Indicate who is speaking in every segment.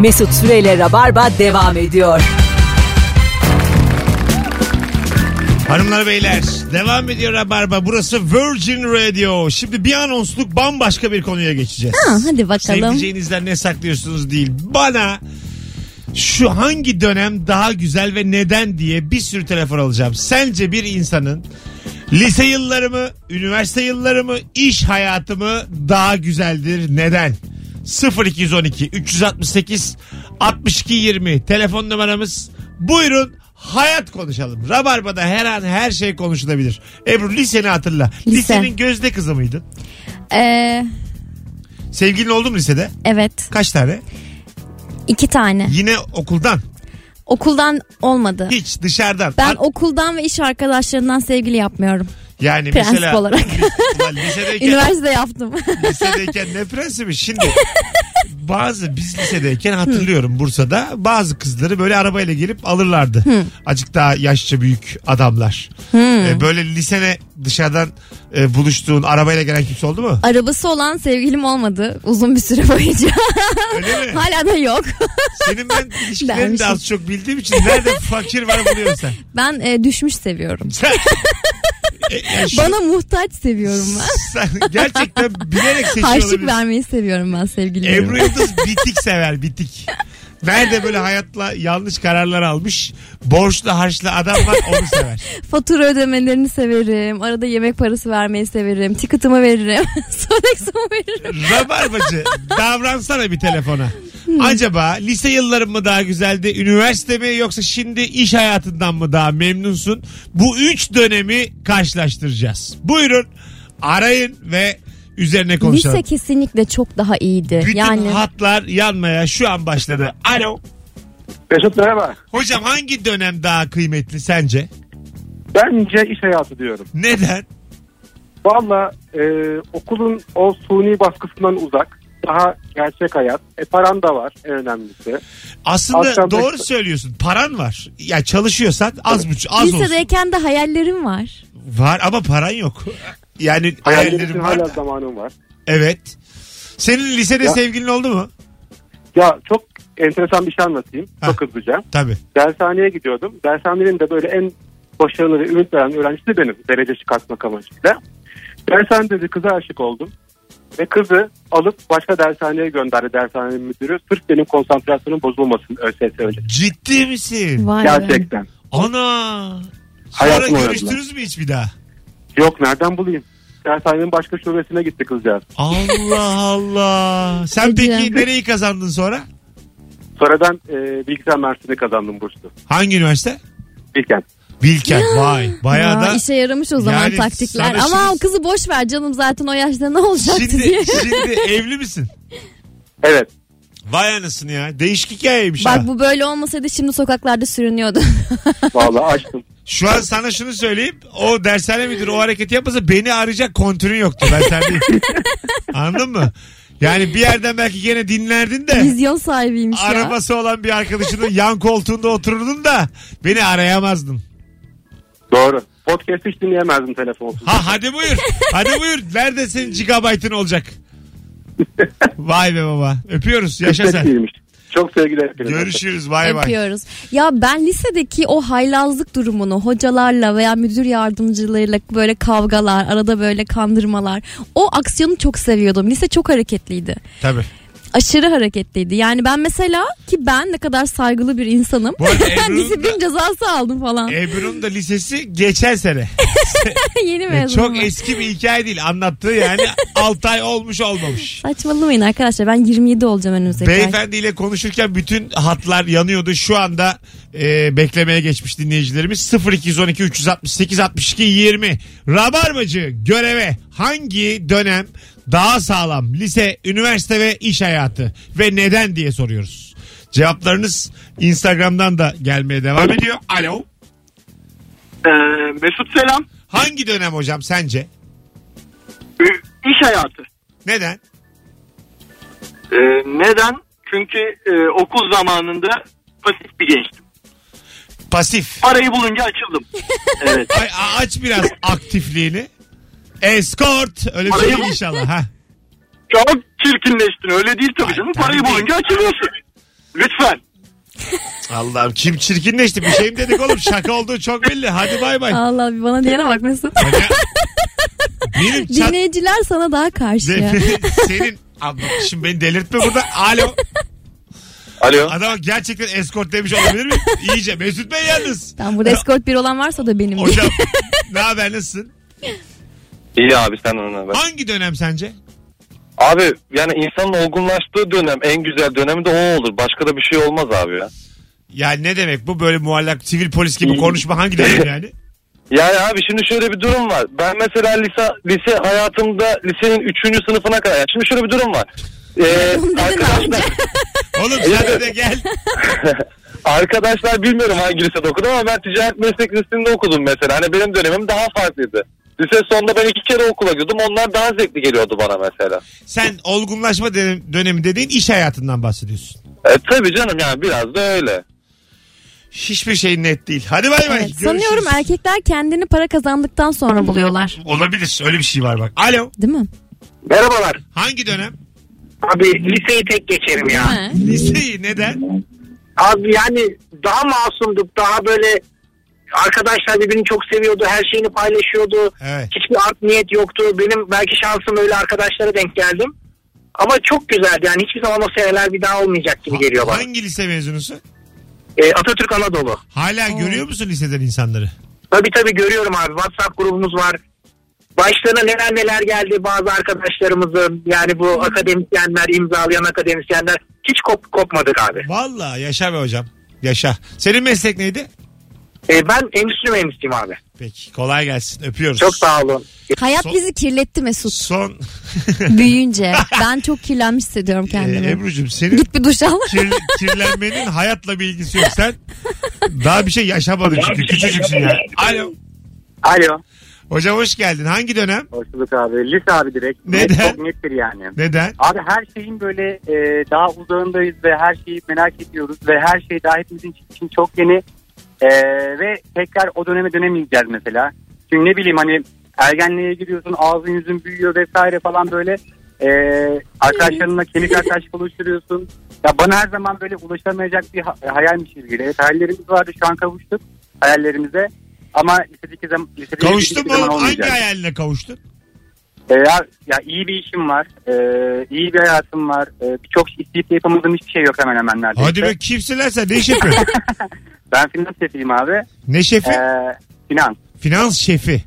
Speaker 1: Mesut Süreyle Rabarba devam ediyor.
Speaker 2: Hanımlar beyler devam ediyor Rabarba. Burası Virgin Radio. Şimdi bir anonsluk bambaşka bir konuya geçeceğiz.
Speaker 3: Ha, hadi bakalım.
Speaker 2: Sevdiceğinizden ne saklıyorsunuz değil. Bana şu hangi dönem daha güzel ve neden diye bir sürü telefon alacağım. Sence bir insanın lise yıllarımı, üniversite yıllarımı, iş hayatımı daha güzeldir neden? 0212 368 62 20 telefon numaramız. Buyurun hayat konuşalım. Rabarba'da her an her şey konuşulabilir. Ebru liseni hatırla.
Speaker 3: Lise.
Speaker 2: Lisenin gözde kızı mıydın?
Speaker 3: Ee,
Speaker 2: Sevgilin oldu mu lisede?
Speaker 3: evet.
Speaker 2: Kaç tane?
Speaker 3: iki tane.
Speaker 2: Yine okuldan.
Speaker 3: Okuldan olmadı.
Speaker 2: Hiç dışarıdan.
Speaker 3: Ben
Speaker 2: Hat-
Speaker 3: okuldan ve iş arkadaşlarından sevgili yapmıyorum.
Speaker 2: yani
Speaker 3: prensip
Speaker 2: mesela,
Speaker 3: olarak.
Speaker 2: Ulan lisedeyken,
Speaker 3: Üniversite yaptım.
Speaker 2: lisedeyken ne prensibi şimdi? Bazı biz lisedeyken hatırlıyorum Bursa'da bazı kızları böyle arabayla gelip alırlardı. Acık daha yaşça büyük adamlar. Ee, böyle lisene dışarıdan e, buluştuğun arabayla gelen kimse oldu mu?
Speaker 3: Arabası olan sevgilim olmadı uzun bir süre boyunca.
Speaker 2: Öyle mi?
Speaker 3: Hala da yok.
Speaker 2: Senin ben ilişkilerini de
Speaker 3: Ah, Dermişim.
Speaker 2: az çok bildiğim için nerede fakir var buluyorsun sen.
Speaker 3: Ben e, düşmüş seviyorum.
Speaker 2: sen E, yani şu-
Speaker 3: Bana muhtaç seviyorum ben.
Speaker 2: Sen gerçekten bilerek seçiyor
Speaker 3: Harçlık
Speaker 2: olabilirsin.
Speaker 3: vermeyi seviyorum ben sevgilime.
Speaker 2: Ebru Yıldız bitik sever bitik. Nerede böyle hayatla yanlış kararlar almış borçlu harçlı adam var onu sever.
Speaker 3: Fatura ödemelerini severim. Arada yemek parası vermeyi severim. Ticket'ımı veririm. Sodex'ımı veririm.
Speaker 2: Rabarbacı davransana bir telefona. Acaba lise yıllarım mı daha güzeldi, üniversite mi yoksa şimdi iş hayatından mı daha memnunsun? Bu üç dönemi karşılaştıracağız. Buyurun arayın ve üzerine konuşalım.
Speaker 3: Lise kesinlikle çok daha iyiydi.
Speaker 2: Bütün
Speaker 3: yani
Speaker 2: hatlar yanmaya şu an başladı. Alo.
Speaker 4: Mesut merhaba.
Speaker 2: Hocam hangi dönem daha kıymetli sence?
Speaker 4: Bence iş hayatı diyorum.
Speaker 2: Neden?
Speaker 4: Valla e, okulun o suni baskısından uzak. Daha gerçek hayat. E paran da var en önemlisi.
Speaker 2: Aslında
Speaker 4: Akşam
Speaker 2: doğru
Speaker 4: bekle-
Speaker 2: söylüyorsun. Paran var. Ya çalışıyorsan az buçuk az olsun.
Speaker 3: lisedeyken de hayallerim var.
Speaker 2: Var ama paran yok. Yani
Speaker 4: Hayallerim
Speaker 2: hayallerin
Speaker 4: için
Speaker 2: var.
Speaker 4: hala
Speaker 2: da-
Speaker 4: zamanım var.
Speaker 2: Evet. Senin lisede
Speaker 4: Ya.
Speaker 2: sevgilin oldu mu?
Speaker 4: Ya çok enteresan bir şey anlatayım.
Speaker 2: Heh.
Speaker 4: Çok hızlıca.
Speaker 2: Tabii.
Speaker 4: Dershaneye gidiyordum. Dershanenin de böyle en başarılı ve ümit veren öğrencisi de benim. Derece çıkartmak amacıyla. Dershanede bir kıza aşık oldum. Ve kızı alıp başka dershaneye gönderdi dershanenin müdürü. Sırf benim konsantrasyonum bozulmasın ÖSS önce.
Speaker 2: Ciddi misin?
Speaker 3: Vay be.
Speaker 4: Gerçekten.
Speaker 2: Ana. Sonra
Speaker 4: Hayatımı
Speaker 2: görüştünüz mü hiç bir daha?
Speaker 4: Yok nereden bulayım? Dershanenin başka şubesine gitti kızcağız.
Speaker 2: Allah Allah. Sen
Speaker 3: Hadi
Speaker 2: peki
Speaker 3: ya.
Speaker 2: nereyi kazandın sonra?
Speaker 4: Sonradan e, bilgisayar mühendisliğini kazandım burslu.
Speaker 2: Hangi üniversite?
Speaker 4: Bilken.
Speaker 2: Bilkent. Vay. Bayağı
Speaker 3: Ya, şey-
Speaker 2: da
Speaker 3: işe yaramış o zaman
Speaker 2: Yani
Speaker 3: taktikler.
Speaker 2: sana
Speaker 3: Ama
Speaker 2: şimdi-
Speaker 3: kızı boş ver canım zaten o yaşta ne olacaktı diye.
Speaker 2: Şimdi, şimdi evli misin?
Speaker 4: Evet.
Speaker 2: Vay anasını ya. Değişik hikayeymiş ha.
Speaker 3: Bak bu böyle olmasaydı şimdi sokaklarda sürünüyordu.
Speaker 4: Vallahi açtım.
Speaker 2: Şu an sana şunu söyleyeyim. O dershane müdürü o hareketi yapmasa beni arayacak kontürün yoktu. Ben sendeyim. Anladın mı? Yani bir yerden belki gene dinlerdin de
Speaker 3: Vizyon sahibiymiş ya.
Speaker 2: arabası olan bir arkadaşının yan koltuğunda otururdun da beni arayamazdın.
Speaker 4: Doğru. Podcast hiç dinleyemezdim telefonsuz.
Speaker 2: Ha hadi buyur. Hadi buyur. Nerede senin gigabaytın olacak? Vay be baba. Öpüyoruz. Yaşa
Speaker 4: Hiç
Speaker 2: sen.
Speaker 4: değilmiş. Çok sevgiler. hepinize.
Speaker 2: Görüşürüz. Vay vay.
Speaker 3: Yapıyoruz. Ya ben lisedeki o haylazlık durumunu hocalarla veya müdür yardımcılarıyla böyle kavgalar, arada böyle kandırmalar. O aksiyonu çok seviyordum. Lise çok hareketliydi.
Speaker 2: Tabii.
Speaker 3: Aşırı hareketliydi. Yani ben mesela ki ben ne kadar saygılı bir insanım.
Speaker 2: Bu arada Ebru'nun da,
Speaker 3: Disiplin cezası aldım falan.
Speaker 2: Ebru'nun da lisesi geçen sene.
Speaker 3: Yeni
Speaker 2: Ve
Speaker 3: mezunum.
Speaker 2: E, çok
Speaker 3: ben.
Speaker 2: eski bir hikaye değil. Anlattığı yani 6 ay olmuş olmamış.
Speaker 3: Saçmalamayın arkadaşlar ben 27 olacağım önümüzdeki ay.
Speaker 2: Beyefendiyle konuşurken bütün hatlar yanıyordu. Şu anda e, beklemeye geçmiş dinleyicilerimiz 0212 368 62 20. Rabarbacı göreve hangi dönem daha sağlam? Lise, üniversite ve iş hayatı ve neden diye soruyoruz. Cevaplarınız Instagram'dan da gelmeye devam ediyor. Alo.
Speaker 5: Ee, Mesut selam.
Speaker 2: Hangi dönem hocam sence?
Speaker 5: Ü- İş hayatı.
Speaker 2: Neden?
Speaker 5: Ee, neden? Çünkü e, okul zamanında pasif bir gençtim.
Speaker 2: Pasif.
Speaker 5: Parayı bulunca açıldım. evet.
Speaker 2: Ay, a- aç biraz aktifliğini. Escort. Öyle bir şey değil inşallah. Ha.
Speaker 5: Çok çirkinleştin öyle değil tabii canım.
Speaker 2: tabii
Speaker 5: Parayı
Speaker 2: değil.
Speaker 5: bulunca açılıyorsun. Lütfen.
Speaker 2: Allah'ım kim çirkinleşti bir şey mi dedik oğlum şaka olduğu çok belli hadi bay bay.
Speaker 3: Allah bir bana diyene bak Mesut.
Speaker 2: Şaka- Benim çat...
Speaker 3: Dinleyiciler sana daha karşı ya.
Speaker 2: Senin Abi bak şimdi beni delirtme burada. Alo.
Speaker 5: Alo.
Speaker 2: Adama gerçekten eskortlemiş olabilir mi? İyice. Mesut Bey yalnız.
Speaker 3: Tamam burada escort bir olan varsa o da benim.
Speaker 2: Hocam ne haber nasılsın?
Speaker 5: İyi abi sen ona bak.
Speaker 2: Hangi dönem sence?
Speaker 5: Abi yani insanın olgunlaştığı dönem en güzel dönemi de o olur. Başka da bir şey olmaz abi ya.
Speaker 2: Ya ne demek bu böyle muallak sivil polis gibi konuşma hangi dönem yani?
Speaker 5: Yani abi şimdi şöyle bir durum var. Ben mesela lise, lise hayatımda lisenin 3. sınıfına kadar. Yani şimdi şöyle bir durum var. Ee,
Speaker 3: Onu dedin
Speaker 5: arkadaşlar,
Speaker 2: Oğlum sen de gel.
Speaker 5: arkadaşlar bilmiyorum hangi lisede okudum ama ben ticaret meslek lisesinde okudum mesela. Hani benim dönemim daha farklıydı. Lise sonunda ben iki kere okula gidiyordum. Onlar daha zevkli geliyordu bana mesela.
Speaker 2: Sen olgunlaşma dönem- dönemi dediğin iş hayatından bahsediyorsun.
Speaker 5: E, tabii canım yani biraz da öyle.
Speaker 2: Hiçbir şey net değil. Hadi bay bay.
Speaker 3: Evet, sanıyorum
Speaker 2: Görüşürüz.
Speaker 3: erkekler kendini para kazandıktan sonra buluyorlar.
Speaker 2: Olabilir. Öyle bir şey var bak. Alo.
Speaker 3: Değil mi?
Speaker 6: Merhabalar.
Speaker 2: Hangi dönem?
Speaker 6: Abi liseyi tek geçerim ya.
Speaker 2: Liseyi neden?
Speaker 6: Abi yani daha masumduk. Daha böyle arkadaşlar birbirini çok seviyordu. Her şeyini paylaşıyordu.
Speaker 2: Evet.
Speaker 6: Hiçbir art niyet yoktu. Benim belki şansım öyle arkadaşlara denk geldim. Ama çok güzeldi. Yani hiçbir zaman o seneler bir daha olmayacak gibi geliyor bana.
Speaker 2: Hangi lise mezunusun?
Speaker 6: Ee, Atatürk Anadolu.
Speaker 2: Hala görüyor musun liseden insanları?
Speaker 6: Tabii tabii görüyorum abi. WhatsApp grubumuz var. Başlarına neler neler geldi bazı arkadaşlarımızın. Yani bu akademisyenler, imzalayan akademisyenler. Hiç kop kopmadık abi.
Speaker 2: Valla yaşa be hocam. Yaşa. Senin meslek neydi?
Speaker 6: Ee, ben endüstri mühendisiyim abi.
Speaker 2: Peki kolay gelsin. Öpüyoruz.
Speaker 6: Çok sağ olun.
Speaker 3: Hayat
Speaker 2: Son-
Speaker 3: bizi kirletti Mesut.
Speaker 2: Son
Speaker 3: Büyüyünce. Ben çok kirlenmiş hissediyorum kendimi.
Speaker 2: e, Ebru'cum senin
Speaker 3: Git bir duş al.
Speaker 2: kir- kirlenmenin hayatla bir ilgisi yok. Sen daha bir şey yaşamadın çünkü küçücüksün yani. Alo.
Speaker 7: Alo.
Speaker 2: Hocam hoş geldin. Hangi dönem?
Speaker 7: Hoş bulduk abi. Lise abi direkt. Net,
Speaker 2: Neden?
Speaker 7: Çok nettir yani.
Speaker 2: Neden?
Speaker 7: Abi her şeyin böyle e, daha uzağındayız ve her şeyi merak ediyoruz ve her şey daha hepimizin için çok yeni E, ve tekrar o döneme dönemeyeceğiz mesela. Çünkü ne bileyim hani ergenliğe giriyorsun ağzın yüzün büyüyor vesaire falan böyle e, arkadaşlarınla kemik arkadaş buluşturuyorsun. Ya bana her zaman böyle ulaşamayacak bir ha- hayalmiş gibi. Evet hayallerimiz vardı şu an kavuştuk hayallerimize ama lisedeki zaman lisedeki
Speaker 2: Kavuştun mu
Speaker 7: zaman
Speaker 2: oğlum? Hangi
Speaker 7: olmayacak.
Speaker 2: hayaline kavuştun?
Speaker 7: E, ya, ya iyi bir işim var, e, iyi bir hayatım var. E, Birçok iş isteyip yapamadığım hiçbir şey yok hemen hemen neredeyse.
Speaker 2: Hadi be kimsin lan sen? Ne şefi?
Speaker 7: Ben finans şefiyim abi.
Speaker 2: ne şefi?
Speaker 7: E, finans.
Speaker 2: Finans şefi.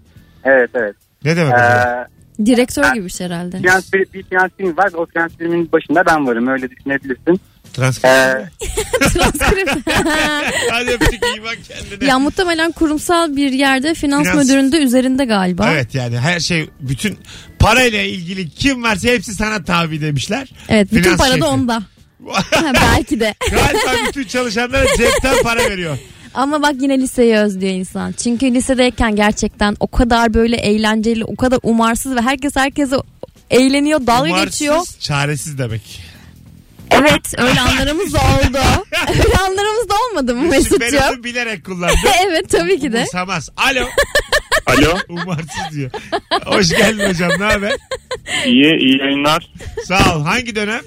Speaker 7: Evet evet.
Speaker 2: Ne demek?
Speaker 7: E,
Speaker 2: o zaman?
Speaker 3: Direktör gibiymiş herhalde.
Speaker 7: finans bir, bir finans birimi var. ve O finans biriminin başında ben varım. Öyle düşünebilirsin. E,
Speaker 2: Transkript.
Speaker 3: Transkript.
Speaker 2: Hadi öptük iyi bak kendine.
Speaker 3: ya muhtemelen kurumsal bir yerde finans,
Speaker 2: Finans.
Speaker 3: müdüründe üzerinde galiba.
Speaker 2: Evet yani her şey bütün parayla ilgili kim varsa hepsi sana tabi demişler.
Speaker 3: Evet, bütün
Speaker 2: Finans
Speaker 3: para
Speaker 2: şefi.
Speaker 3: da onda. Ha, belki de.
Speaker 2: Galiba bütün çalışanlara cepten para veriyor.
Speaker 3: Ama bak yine liseyi özlüyor insan. Çünkü lisedeyken gerçekten o kadar böyle eğlenceli, o kadar umarsız ve herkes herkese eğleniyor, dalga
Speaker 2: Umarsız,
Speaker 3: geçiyor.
Speaker 2: çaresiz demek.
Speaker 3: Evet, öyle anlarımız da oldu. öyle anlarımız da olmadı mı
Speaker 2: Şimdi ben
Speaker 3: Mesut'cuğum?
Speaker 2: onu bilerek kullandım.
Speaker 3: evet tabii ki de.
Speaker 2: Umursamaz. Alo.
Speaker 5: Alo.
Speaker 2: Umarsız diyor. Hoş geldin hocam ne haber?
Speaker 5: İyi, iyi yayınlar.
Speaker 2: Sağ ol. Hangi dönem?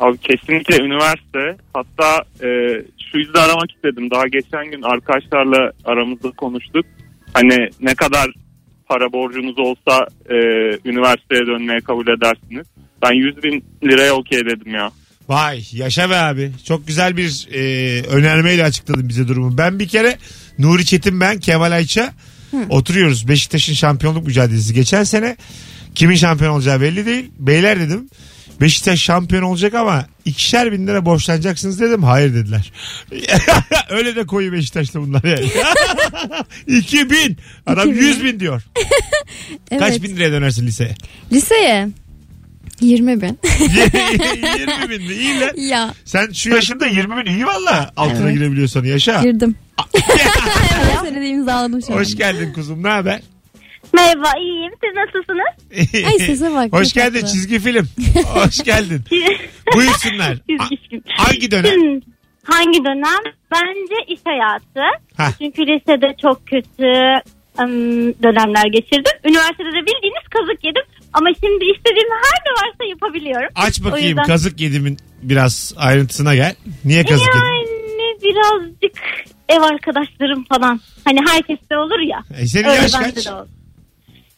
Speaker 5: Abi kesinlikle üniversite. Hatta e, şu yüzden aramak istedim. Daha geçen gün arkadaşlarla aramızda konuştuk. Hani ne kadar para borcunuz olsa e, üniversiteye dönmeye kabul edersiniz. Ben 100 bin liraya okey dedim ya.
Speaker 2: Vay yaşa be abi. Çok güzel bir e, önermeyle açıkladın bize durumu. Ben bir kere Nuri Çetin ben Kemal Ayça oturuyoruz. Beşiktaş'ın şampiyonluk mücadelesi. Geçen sene kimin şampiyon olacağı belli değil. Beyler dedim. Beşiktaş şampiyon olacak ama ikişer bin lira borçlanacaksınız dedim. Hayır dediler. Öyle de koyu Beşiktaşlı bunlar yani. İki bin. Adam
Speaker 3: İki bin.
Speaker 2: yüz bin diyor.
Speaker 3: Evet.
Speaker 2: Kaç bin liraya dönersin liseye?
Speaker 3: Liseye 20 bin.
Speaker 2: Yirmi bin. mi? İyi lan.
Speaker 3: ya
Speaker 2: Sen şu yaşında 20 bin iyi valla. Altına
Speaker 3: Evet.
Speaker 2: girebiliyorsan yaşa.
Speaker 3: girdim. evet, seni de imzaladım şu an.
Speaker 2: Hoş geldin kuzum ne haber?
Speaker 8: Merhaba iyiyim. Siz nasılsınız?
Speaker 3: Ay sese bak.
Speaker 2: Hoş
Speaker 3: ne
Speaker 2: geldin
Speaker 3: tatlı.
Speaker 2: çizgi film. Hoş geldin. Buyursunlar.
Speaker 8: Çizgi
Speaker 2: A-
Speaker 8: film.
Speaker 2: hangi dönem?
Speaker 8: Hmm, Hangi dönem? Bence iş hayatı.
Speaker 2: Hah.
Speaker 8: Çünkü lisede çok kötü ım, dönemler geçirdim. Üniversitede de bildiğiniz kazık yedim. Ama şimdi istediğim her ne varsa yapabiliyorum.
Speaker 2: Aç
Speaker 8: O
Speaker 2: bakayım
Speaker 8: yüzden-
Speaker 2: kazık yedimin biraz ayrıntısına gel. Niye kazık yedin?
Speaker 8: Yani birazcık ev arkadaşlarım falan. Hani herkeste olur ya.
Speaker 2: E senin
Speaker 8: Öyle
Speaker 2: yaş
Speaker 8: bende
Speaker 2: kaç?
Speaker 8: de oldu.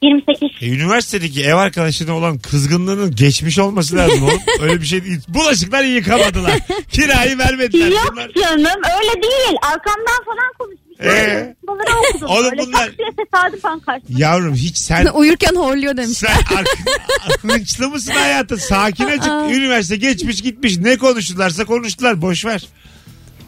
Speaker 8: 28.
Speaker 2: E, üniversitedeki ev arkadaşına olan kızgınlığının geçmiş olması lazım oğlum. Öyle bir şey değil. Bulaşıkları yıkamadılar. Kirayı vermediler.
Speaker 8: Yok
Speaker 2: Bunlar-
Speaker 8: canım öyle değil. Arkamdan falan konuşmuşlar.
Speaker 2: Ee?
Speaker 8: Bunları okudum.
Speaker 2: Oğlum
Speaker 8: böyle
Speaker 2: bunlar-
Speaker 8: tak diye tesadüfen karşıma.
Speaker 2: Yavrum hiç sen
Speaker 3: Uyurken horluyor demiş.
Speaker 2: sen ar- hınçlı mısın hayatı? Sakin acık. Üniversite geçmiş gitmiş. Ne konuştularsa konuştular. Boş ver.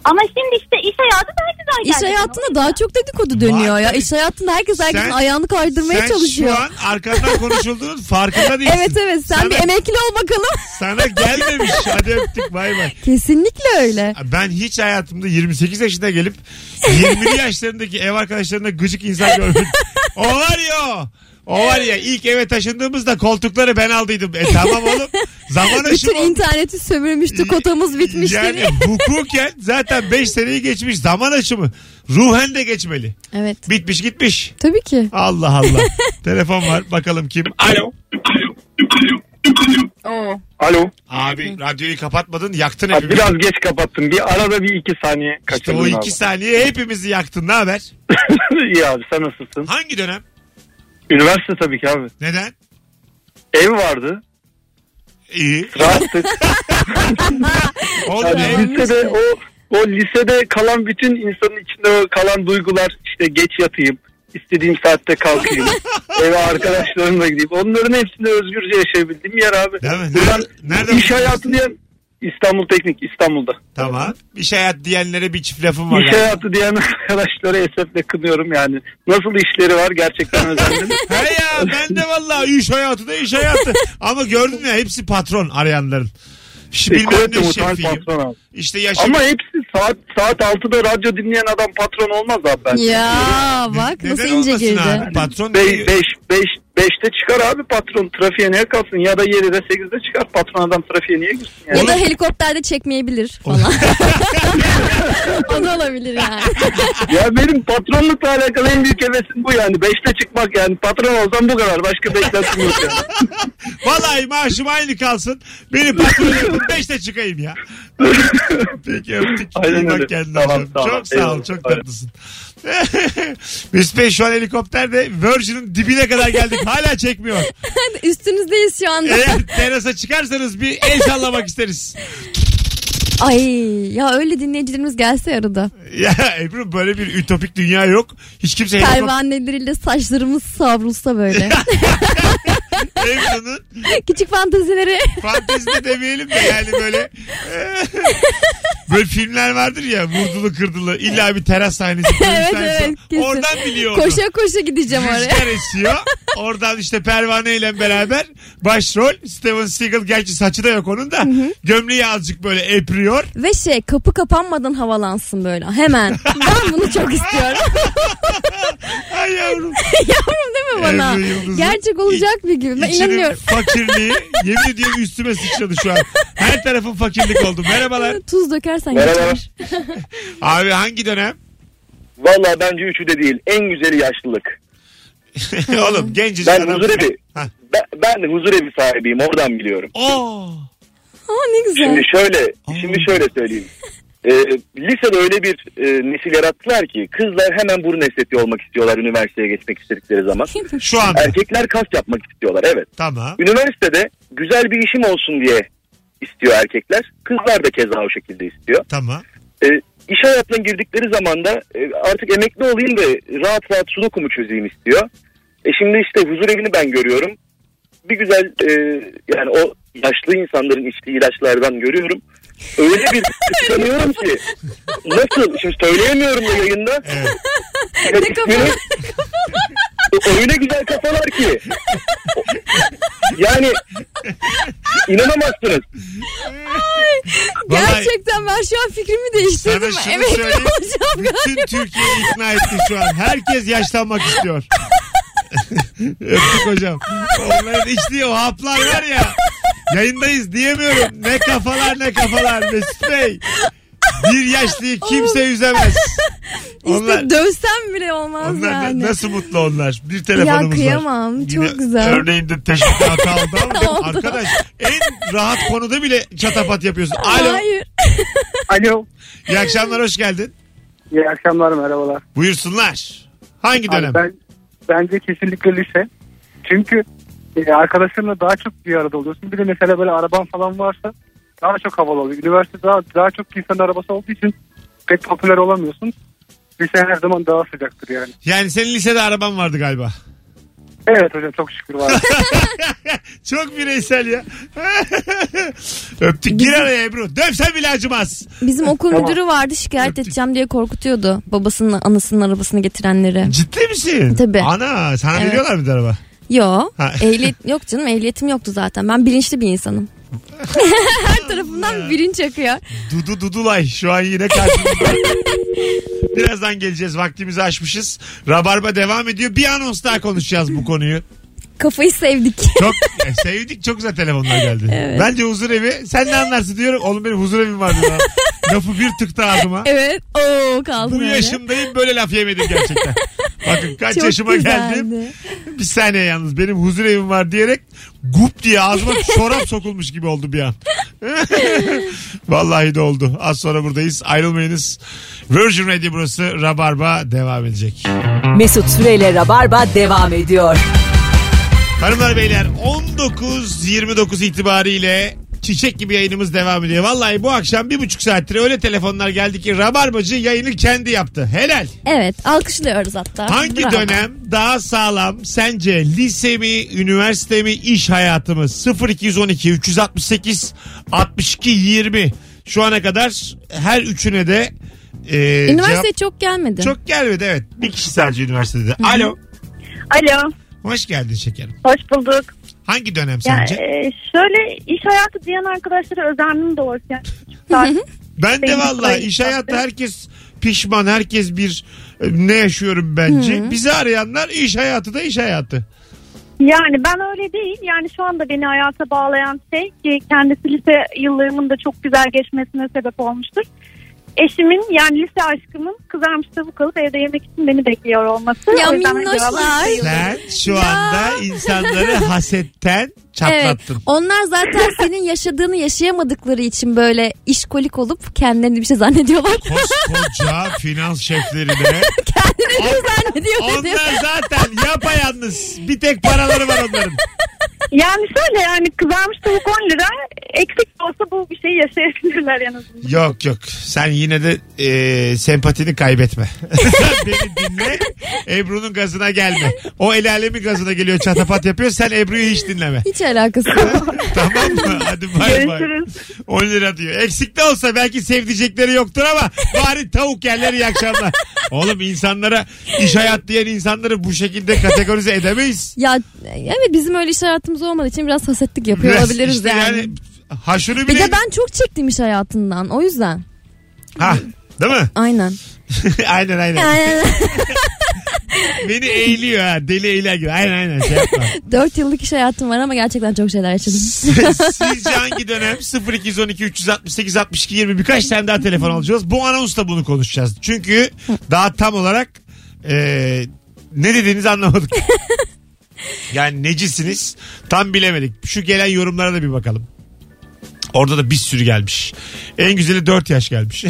Speaker 8: Ama şimdi işte iş hayatı daha güzel geldi.
Speaker 3: İş hayatında daha çok dedikodu dönüyor
Speaker 2: Var
Speaker 3: ya.
Speaker 2: tabii.
Speaker 3: İş hayatında herkes herkesin
Speaker 2: Sen-
Speaker 3: ayağını kaydırmaya
Speaker 2: Sen
Speaker 3: çalışıyor.
Speaker 2: şu an arkandan konuşulduğunun farkında değilsin.
Speaker 3: Evet evet sen
Speaker 2: sana,
Speaker 3: bir emekli ol bakalım.
Speaker 2: sana gelmemiş. Hadi öptük bay bay.
Speaker 3: Kesinlikle öyle.
Speaker 2: Ben hiç hayatımda 28 yaşına gelip 20'li yaşlarındaki ev arkadaşlarına gıcık insan görmedim. O var ya o. O var ya ilk eve taşındığımızda koltukları ben aldıydım. E tamam oğlum. Zaman aşımı.
Speaker 3: Bütün interneti sömürmüştü, kotamız bitmişti.
Speaker 2: Yani hukuken zaten 5 seneyi geçmiş zaman aşımı. Ruhen de geçmeli.
Speaker 3: Evet.
Speaker 2: Bitmiş gitmiş.
Speaker 3: Tabii ki.
Speaker 2: Allah Allah. Telefon var bakalım kim. Alo.
Speaker 9: Alo.
Speaker 2: Abi radyoyu kapatmadın yaktın
Speaker 9: Abi
Speaker 2: hepimizi.
Speaker 9: biraz geç kapattım. Bir arada bir iki saniye
Speaker 2: İşte
Speaker 9: kaçırdım
Speaker 2: o
Speaker 9: abi.
Speaker 2: iki saniye hepimizi yaktın ne haber?
Speaker 9: İyi abi sen nasılsın?
Speaker 2: Hangi dönem?
Speaker 9: Üniversite tabii ki abi.
Speaker 2: Neden?
Speaker 9: Ev vardı.
Speaker 2: İyi.
Speaker 9: Rahattık.
Speaker 2: Oğlum
Speaker 9: Yani
Speaker 2: ev,
Speaker 3: Tamam işte.
Speaker 9: lisede o o lisede kalan bütün insanın içinde o kalan duygular işte geç yatayım, istediğim saatte kalkayım, eve arkadaşlarımla gideyim. Onların hepsini özgürce yaşayabildiğim yer abi.
Speaker 2: Değil mi?
Speaker 9: Buradan
Speaker 2: Nerede-
Speaker 9: iş
Speaker 2: nerede-
Speaker 9: hayatı diyen İstanbul Teknik İstanbul'da.
Speaker 2: Tamam. İş hayat diyenlere bir çift lafım var.
Speaker 9: İş
Speaker 2: yani.
Speaker 9: hayatı diyen arkadaşları esefle kınıyorum yani. Nasıl işleri var gerçekten özendim.
Speaker 2: He ya ben de vallahi iş hayatı da iş hayatı. Ama gördün ya hepsi patron arayanların. Şimdi bilmem
Speaker 9: Kuvvetli
Speaker 2: ne
Speaker 9: E, muhtemel
Speaker 2: şefiyim.
Speaker 9: patron abi.
Speaker 2: İşte yaşım.
Speaker 9: Ama hepsi saat saat 6'da radyo dinleyen adam patron olmaz abi ben.
Speaker 3: Ya bak
Speaker 2: Neden
Speaker 3: nasıl ince
Speaker 2: olmasın
Speaker 3: girdi.
Speaker 2: abi? Patron
Speaker 9: Be-
Speaker 2: diye-
Speaker 9: beş, beş, beşte çıkar abi patron trafiğe niye kalsın ya da 7'de 8'de çıkar patron adam trafiğe niye girsin yani.
Speaker 3: Ya da helikopterde çekmeyebilir falan. o da olabilir yani.
Speaker 9: ya benim patronlukla alakalı en büyük hevesim bu yani 5'te çıkmak yani patron olsam bu kadar başka beklentim yok yani.
Speaker 2: Vallahi maaşım aynı kalsın. Beni patron yapın 5'te çıkayım ya. Peki öptük.
Speaker 9: Aynen
Speaker 2: İyi bak
Speaker 9: öyle.
Speaker 2: kendine
Speaker 9: Tamam,
Speaker 2: hocam.
Speaker 9: tamam.
Speaker 2: Çok sağ ol.
Speaker 9: Eyvallah.
Speaker 2: Çok
Speaker 9: Aynen.
Speaker 2: tatlısın. Mesut Bey şu an helikopterde Virgin'in dibine kadar geldik. Hala çekmiyor.
Speaker 3: Üstünüzdeyiz şu anda.
Speaker 2: Eğer terasa çıkarsanız bir el sallamak isteriz.
Speaker 3: Ay ya öyle dinleyicilerimiz gelse arada.
Speaker 2: Ya Ebru böyle bir ütopik dünya yok. Hiç kimse helikopter...
Speaker 3: Pervaneleriyle saçlarımız savrulsa böyle.
Speaker 2: Ebru'nun
Speaker 3: Küçük fantezileri.
Speaker 2: fantezi de demeyelim de yani böyle... böyle filmler vardır ya vurdulu kırdılı. İlla bir teras sahnesi.
Speaker 3: Evet,
Speaker 2: dövüş sahnesi.
Speaker 3: evet, kesin.
Speaker 2: Oradan biliyor onu.
Speaker 3: Koşa koşa gideceğim oraya.
Speaker 2: Rüzgar esiyor. Oradan işte pervane ile beraber başrol Steven Seagal gerçi saçı da yok onun da gömleği azıcık böyle epriyor.
Speaker 3: Ve şey kapı kapanmadan havalansın böyle hemen. Ben bunu çok istiyorum.
Speaker 2: Ay yavrum.
Speaker 3: Yavrum değil mi bana?
Speaker 2: Ebru Yıldız'ın
Speaker 3: Gerçek olacak bir gün. Ben
Speaker 2: İçinin
Speaker 3: inanıyorum.
Speaker 2: fakirliği yemin ediyorum üstüme sıçradı şu an. Her tarafım fakirlik oldu. Merhabalar.
Speaker 3: Tuz dökersen
Speaker 10: Merhaba.
Speaker 3: geçer.
Speaker 2: Abi hangi dönem?
Speaker 10: Valla bence üçü de değil. En güzeli yaşlılık.
Speaker 2: Oğlum genciz
Speaker 10: Ben
Speaker 2: adam.
Speaker 10: huzurevi.
Speaker 2: Ha.
Speaker 10: Ben, ben de huzurevi sahibiyim. Oradan biliyorum.
Speaker 2: Oo.
Speaker 3: Aa ne güzel.
Speaker 10: Şimdi şöyle, şimdi şöyle söyleyeyim. Ee, lisede öyle bir e, nesil yarattılar ki kızlar hemen burun estetiği olmak istiyorlar üniversiteye geçmek istedikleri zaman.
Speaker 2: Şu an
Speaker 10: Erkekler kas yapmak istiyorlar evet.
Speaker 2: tamam.
Speaker 10: Üniversitede güzel bir işim olsun diye istiyor erkekler. Kızlar da keza o şekilde istiyor.
Speaker 2: Tamam.
Speaker 10: E, iş hayatına girdikleri zaman da e, artık emekli olayım da rahat rahat sudoku mu çözeyim istiyor. E şimdi işte huzur evini ben görüyorum. Bir güzel e, yani o yaşlı insanların içtiği ilaçlardan görüyorum. Öyle bir kıskanıyorum ki. Nasıl? Şimdi söyleyemiyorum da yayında.
Speaker 2: Evet.
Speaker 10: Ne
Speaker 3: kafalar?
Speaker 10: Öyle güzel kafalar ki. Yani inanamazsınız.
Speaker 2: Vallahi-
Speaker 3: Gerçekten ben şu an fikrimi
Speaker 2: Sana
Speaker 3: değiştirdim.
Speaker 2: şunu
Speaker 3: Emekli
Speaker 2: söyleyeyim.
Speaker 3: olacağım
Speaker 2: Bütün Türkiye'yi ikna etti şu an. Herkes yaşlanmak istiyor. Öptük hocam. Onların içtiği o haplar var ya. Yayındayız diyemiyorum. Ne kafalar ne kafalar Mesut Bey. Bir yaşlıyı kimse üzemez. Onlar-
Speaker 3: İşte dövsem bile olmaz
Speaker 2: Onlar
Speaker 3: yani.
Speaker 2: na- nasıl mutlu onlar? Bir telefonumuz var.
Speaker 3: Ya kıyamam,
Speaker 2: Yine
Speaker 3: çok güzel.
Speaker 2: Örneğinde teşvikte hata oldu ama arkadaş en rahat konuda bile çatapat yapıyorsun. Alo.
Speaker 3: Hayır.
Speaker 7: Alo.
Speaker 2: İyi akşamlar hoş geldin.
Speaker 7: İyi akşamlar merhabalar.
Speaker 2: Buyursunlar. Hangi
Speaker 7: Abi
Speaker 2: dönem?
Speaker 7: ben, bence kesinlikle lise. Çünkü e, arkadaşlarınla daha çok bir arada oluyorsun. Bir de mesela böyle araban falan varsa daha çok havalı oluyor. Üniversite daha, daha çok insanın arabası olduğu için pek popüler olamıyorsun. Lise her zaman daha sıcaktır yani.
Speaker 2: Yani senin lisede araban vardı galiba.
Speaker 7: Evet hocam çok şükür var.
Speaker 2: Çok bireysel ya. Öptük. Gir araya Ebru. Dövsen bile acımaz.
Speaker 3: Bizim okul
Speaker 7: Tamam.
Speaker 3: müdürü vardı şikayet
Speaker 2: Öptük.
Speaker 3: edeceğim diye korkutuyordu. Babasının anasının arabasını getirenleri.
Speaker 2: Ciddi misin?
Speaker 3: Tabii.
Speaker 2: Ana sana
Speaker 3: Evet.
Speaker 2: veriyorlar mı bir araba?
Speaker 3: Yo.
Speaker 2: Ha.
Speaker 3: Ehliyet yok canım. Ehliyetim yoktu zaten. Ben bilinçli bir insanım. Her tarafından bilinç akıyor.
Speaker 2: Dudu Dudulay şu an yine karşımızda. Birazdan geleceğiz. Vaktimizi aşmışız. Rabarba devam ediyor. Bir anons daha konuşacağız bu konuyu.
Speaker 3: Kafayı sevdik.
Speaker 2: Çok e, sevdik. Çok güzel telefonlar geldi. Bence huzur evi. Sen ne anlarsın diyorum. Oğlum benim huzur evim var diyor. Lafı bir tıktı ağzıma.
Speaker 3: evet. Oo kaldım
Speaker 2: Bu
Speaker 3: öyle.
Speaker 2: yaşımdayım böyle laf yemedim gerçekten. Bakın kaç
Speaker 3: Çok
Speaker 2: yaşıma
Speaker 3: güzeldi.
Speaker 2: geldim. Bir saniye yalnız benim huzur evim var diyerek gup diye ağzıma çorap sokulmuş gibi oldu bir an. Vallahi de oldu. Az sonra buradayız. Ayrılmayınız. Virgin Radio burası. Rabarba devam edecek.
Speaker 1: Mesut Süreyle Rabarba devam ediyor.
Speaker 2: Hanımlar beyler 19-29 itibariyle çiçek gibi yayınımız devam ediyor. Vallahi bu akşam bir buçuk saattir öyle telefonlar geldi ki Rabarbacı yayını kendi yaptı. Helal.
Speaker 3: Evet. Alkışlıyoruz hatta.
Speaker 2: Hangi
Speaker 3: Bravo.
Speaker 2: dönem daha sağlam sence lise mi, üniversite mi, iş hayatı mı? 0212 368 62 20. Şu ana kadar her üçüne de e,
Speaker 3: Üniversiteye çok gelmedi.
Speaker 2: cevap çok gelmedi evet. Bir kişi sadece üniversitede. Alo.
Speaker 8: Alo,
Speaker 2: Hoş geldin şekerim.
Speaker 8: hoş bulduk.
Speaker 2: Hangi dönem
Speaker 8: Ya,
Speaker 2: sence?
Speaker 8: e, şöyle iş hayatı diyen arkadaşlara özendim doğrusu. Yani.
Speaker 2: ben de
Speaker 8: benim
Speaker 2: valla
Speaker 8: sayım
Speaker 2: iş
Speaker 8: zaten.
Speaker 2: hayatı herkes pişman herkes bir e, ne yaşıyorum bence. Bizi arayanlar iş hayatı da iş hayatı.
Speaker 8: yani ben öyle değil. Yani şu anda beni hayata bağlayan şey ki kendisi lise yıllarımın da çok güzel geçmesine sebep olmuştur. Eşimin yani lise aşkımın kızarmış tavuk alıp evde yemek için beni bekliyor olması.
Speaker 3: Ya
Speaker 8: O yüzden
Speaker 3: minnoşlar.
Speaker 8: cevabı sayılır.
Speaker 2: Sen şu
Speaker 3: Ya.
Speaker 2: anda insanları hasetten
Speaker 3: Evet.
Speaker 2: çatlattın.
Speaker 3: Onlar zaten senin yaşadığını yaşayamadıkları için böyle işkolik olup kendilerini bir şey zannediyorlar.
Speaker 2: Koskoca finans şeflerine.
Speaker 3: Kendilerini bir şey zannediyor dedim.
Speaker 2: Onlar zaten yapayalnız. Bir tek paraları var onların.
Speaker 8: Yani şöyle yani kızarmış tavuk 10 lira eksik de olsa bu bir şeyi yaşayabilirler en azından.
Speaker 2: Yok yok. Sen yine de e, sempatini kaybetme. Beni dinle. Ebru'nun gazına gelme. O el alemin gazına geliyor çatapat yapıyor. Sen Ebru'yu hiç dinleme.
Speaker 3: Hiç alakası yok.
Speaker 2: tamam mı? Hadi bay bay.
Speaker 8: Görüşürüz.
Speaker 2: 10 lira diyor. Eksik de olsa belki sevdicekleri yoktur ama bari tavuk yerler iyi akşamlar. Oğlum insanlara iş hayat diyen insanları bu şekilde kategorize edemeyiz.
Speaker 3: ya evet bizim öyle iş hayatımız olmadığı için biraz hasetlik yapıyor
Speaker 2: Biraz
Speaker 3: olabiliriz
Speaker 2: işte
Speaker 3: yani.
Speaker 2: Haşırı
Speaker 3: Bir
Speaker 2: bile.
Speaker 3: de ben çok çektim iş hayatından o yüzden.
Speaker 2: Ha, değil mi?
Speaker 3: Aynen.
Speaker 2: aynen aynen.
Speaker 3: Aynen.
Speaker 2: Beni eğiliyor ha. Deli eğiler gibi. Aynen aynen. Şey yapma.
Speaker 3: 4 yıllık iş hayatım var ama gerçekten çok şeyler yaşadım.
Speaker 2: Sizce hangi dönem 0212 368 62 20 birkaç tane daha telefon alacağız. Bu anonsla bunu konuşacağız. Çünkü daha tam olarak e, ne dediğinizi anlamadık. Yani necisiniz tam bilemedik. Şu gelen yorumlara da bir bakalım. Orada da bir sürü gelmiş. En güzeli 4 yaş gelmiş.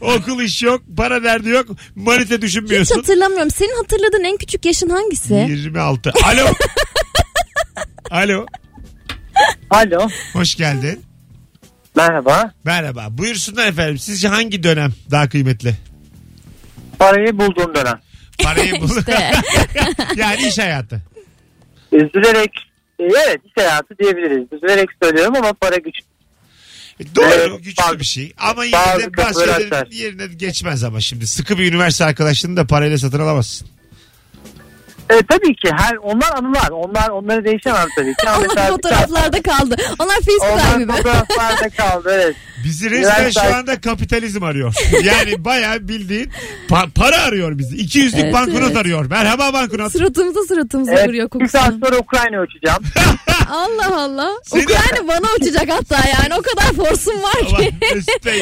Speaker 2: Okul iş yok, para derdi yok, manite
Speaker 3: Hiç
Speaker 2: düşünmüyorsun.
Speaker 3: hatırlamıyorum. Senin hatırladığın en küçük yaşın hangisi?
Speaker 2: 26. Alo. Alo.
Speaker 7: Alo.
Speaker 2: Hoş geldin.
Speaker 7: Merhaba.
Speaker 2: Merhaba. Buyursunlar efendim. Sizce hangi dönem daha kıymetli?
Speaker 7: Parayı bulduğum dönem.
Speaker 2: Parayı bul.
Speaker 3: İşte.
Speaker 2: yani iş hayatı.
Speaker 7: Üzülerek e, evet iş hayatı diyebiliriz. Üzülerek söylüyorum ama para güç.
Speaker 2: Doğru
Speaker 7: Evet,
Speaker 2: güçlü
Speaker 7: bazı-
Speaker 2: bir şey. Ama yine
Speaker 7: bazı
Speaker 2: de bazı
Speaker 7: kapıları
Speaker 2: şeylerin
Speaker 7: açar.
Speaker 2: yerine geçmez ama şimdi. Sıkı bir üniversite arkadaşını da parayla satın alamazsın.
Speaker 7: E, tabii ki her onlar anılar. Onlar onları değişemem tabii ki. Ama
Speaker 3: Onlar
Speaker 7: mesela bir tane-
Speaker 3: fotoğraflarda kaldı. Onlar Facebook gibi.
Speaker 7: Onlar fotoğraflarda kaldı evet.
Speaker 2: Bizi resmen
Speaker 7: Üniversite-
Speaker 2: şu anda kapitalizm arıyor. Yani bayağı bildiğin pa- para arıyor bizi. İki yüzlük
Speaker 3: Evet,
Speaker 2: banknot
Speaker 3: evet.
Speaker 2: arıyor. Merhaba banknot.
Speaker 3: Suratımıza suratımıza
Speaker 7: evet.
Speaker 3: vuruyor
Speaker 7: Bir saat
Speaker 3: kokusunu.
Speaker 7: sonra Ukrayna uçacağım.
Speaker 3: Allah Allah.
Speaker 2: Seni-
Speaker 3: Ukrayna bana uçacak hatta yani. O kadar forsum var
Speaker 2: Ama
Speaker 3: ki.
Speaker 2: Mesut Bey,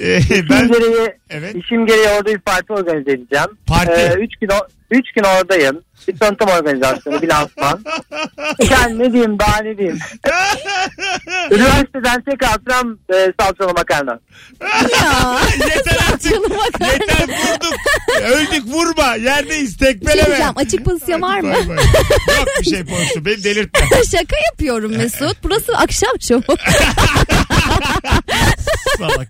Speaker 2: Ee,
Speaker 7: İşim
Speaker 2: ben
Speaker 7: gereği,
Speaker 2: evet
Speaker 7: işim gereği orada bir parti organize edeceğim.
Speaker 2: Parti?
Speaker 7: Ee, üç, gün, o- üç gün oradayım. Bir tanıtım organizasyonu, bir lansman. yani ne diyeyim daha ne diyeyim. Üniversiteden tek hatıram e, salçalı makarna.
Speaker 3: Ya.
Speaker 2: yeter artık
Speaker 3: Canım bakar.
Speaker 2: yeter vurduk öldük vurma yerdeyiz
Speaker 3: Bir şey
Speaker 2: tekmeleme.
Speaker 3: diyeceğim, açık pozisyon var mı?
Speaker 2: Bay bay. Yok bir şey konuştu beni delirtme.
Speaker 3: Şaka yapıyorum Mesut. Burası akşam şovu.
Speaker 2: Salak.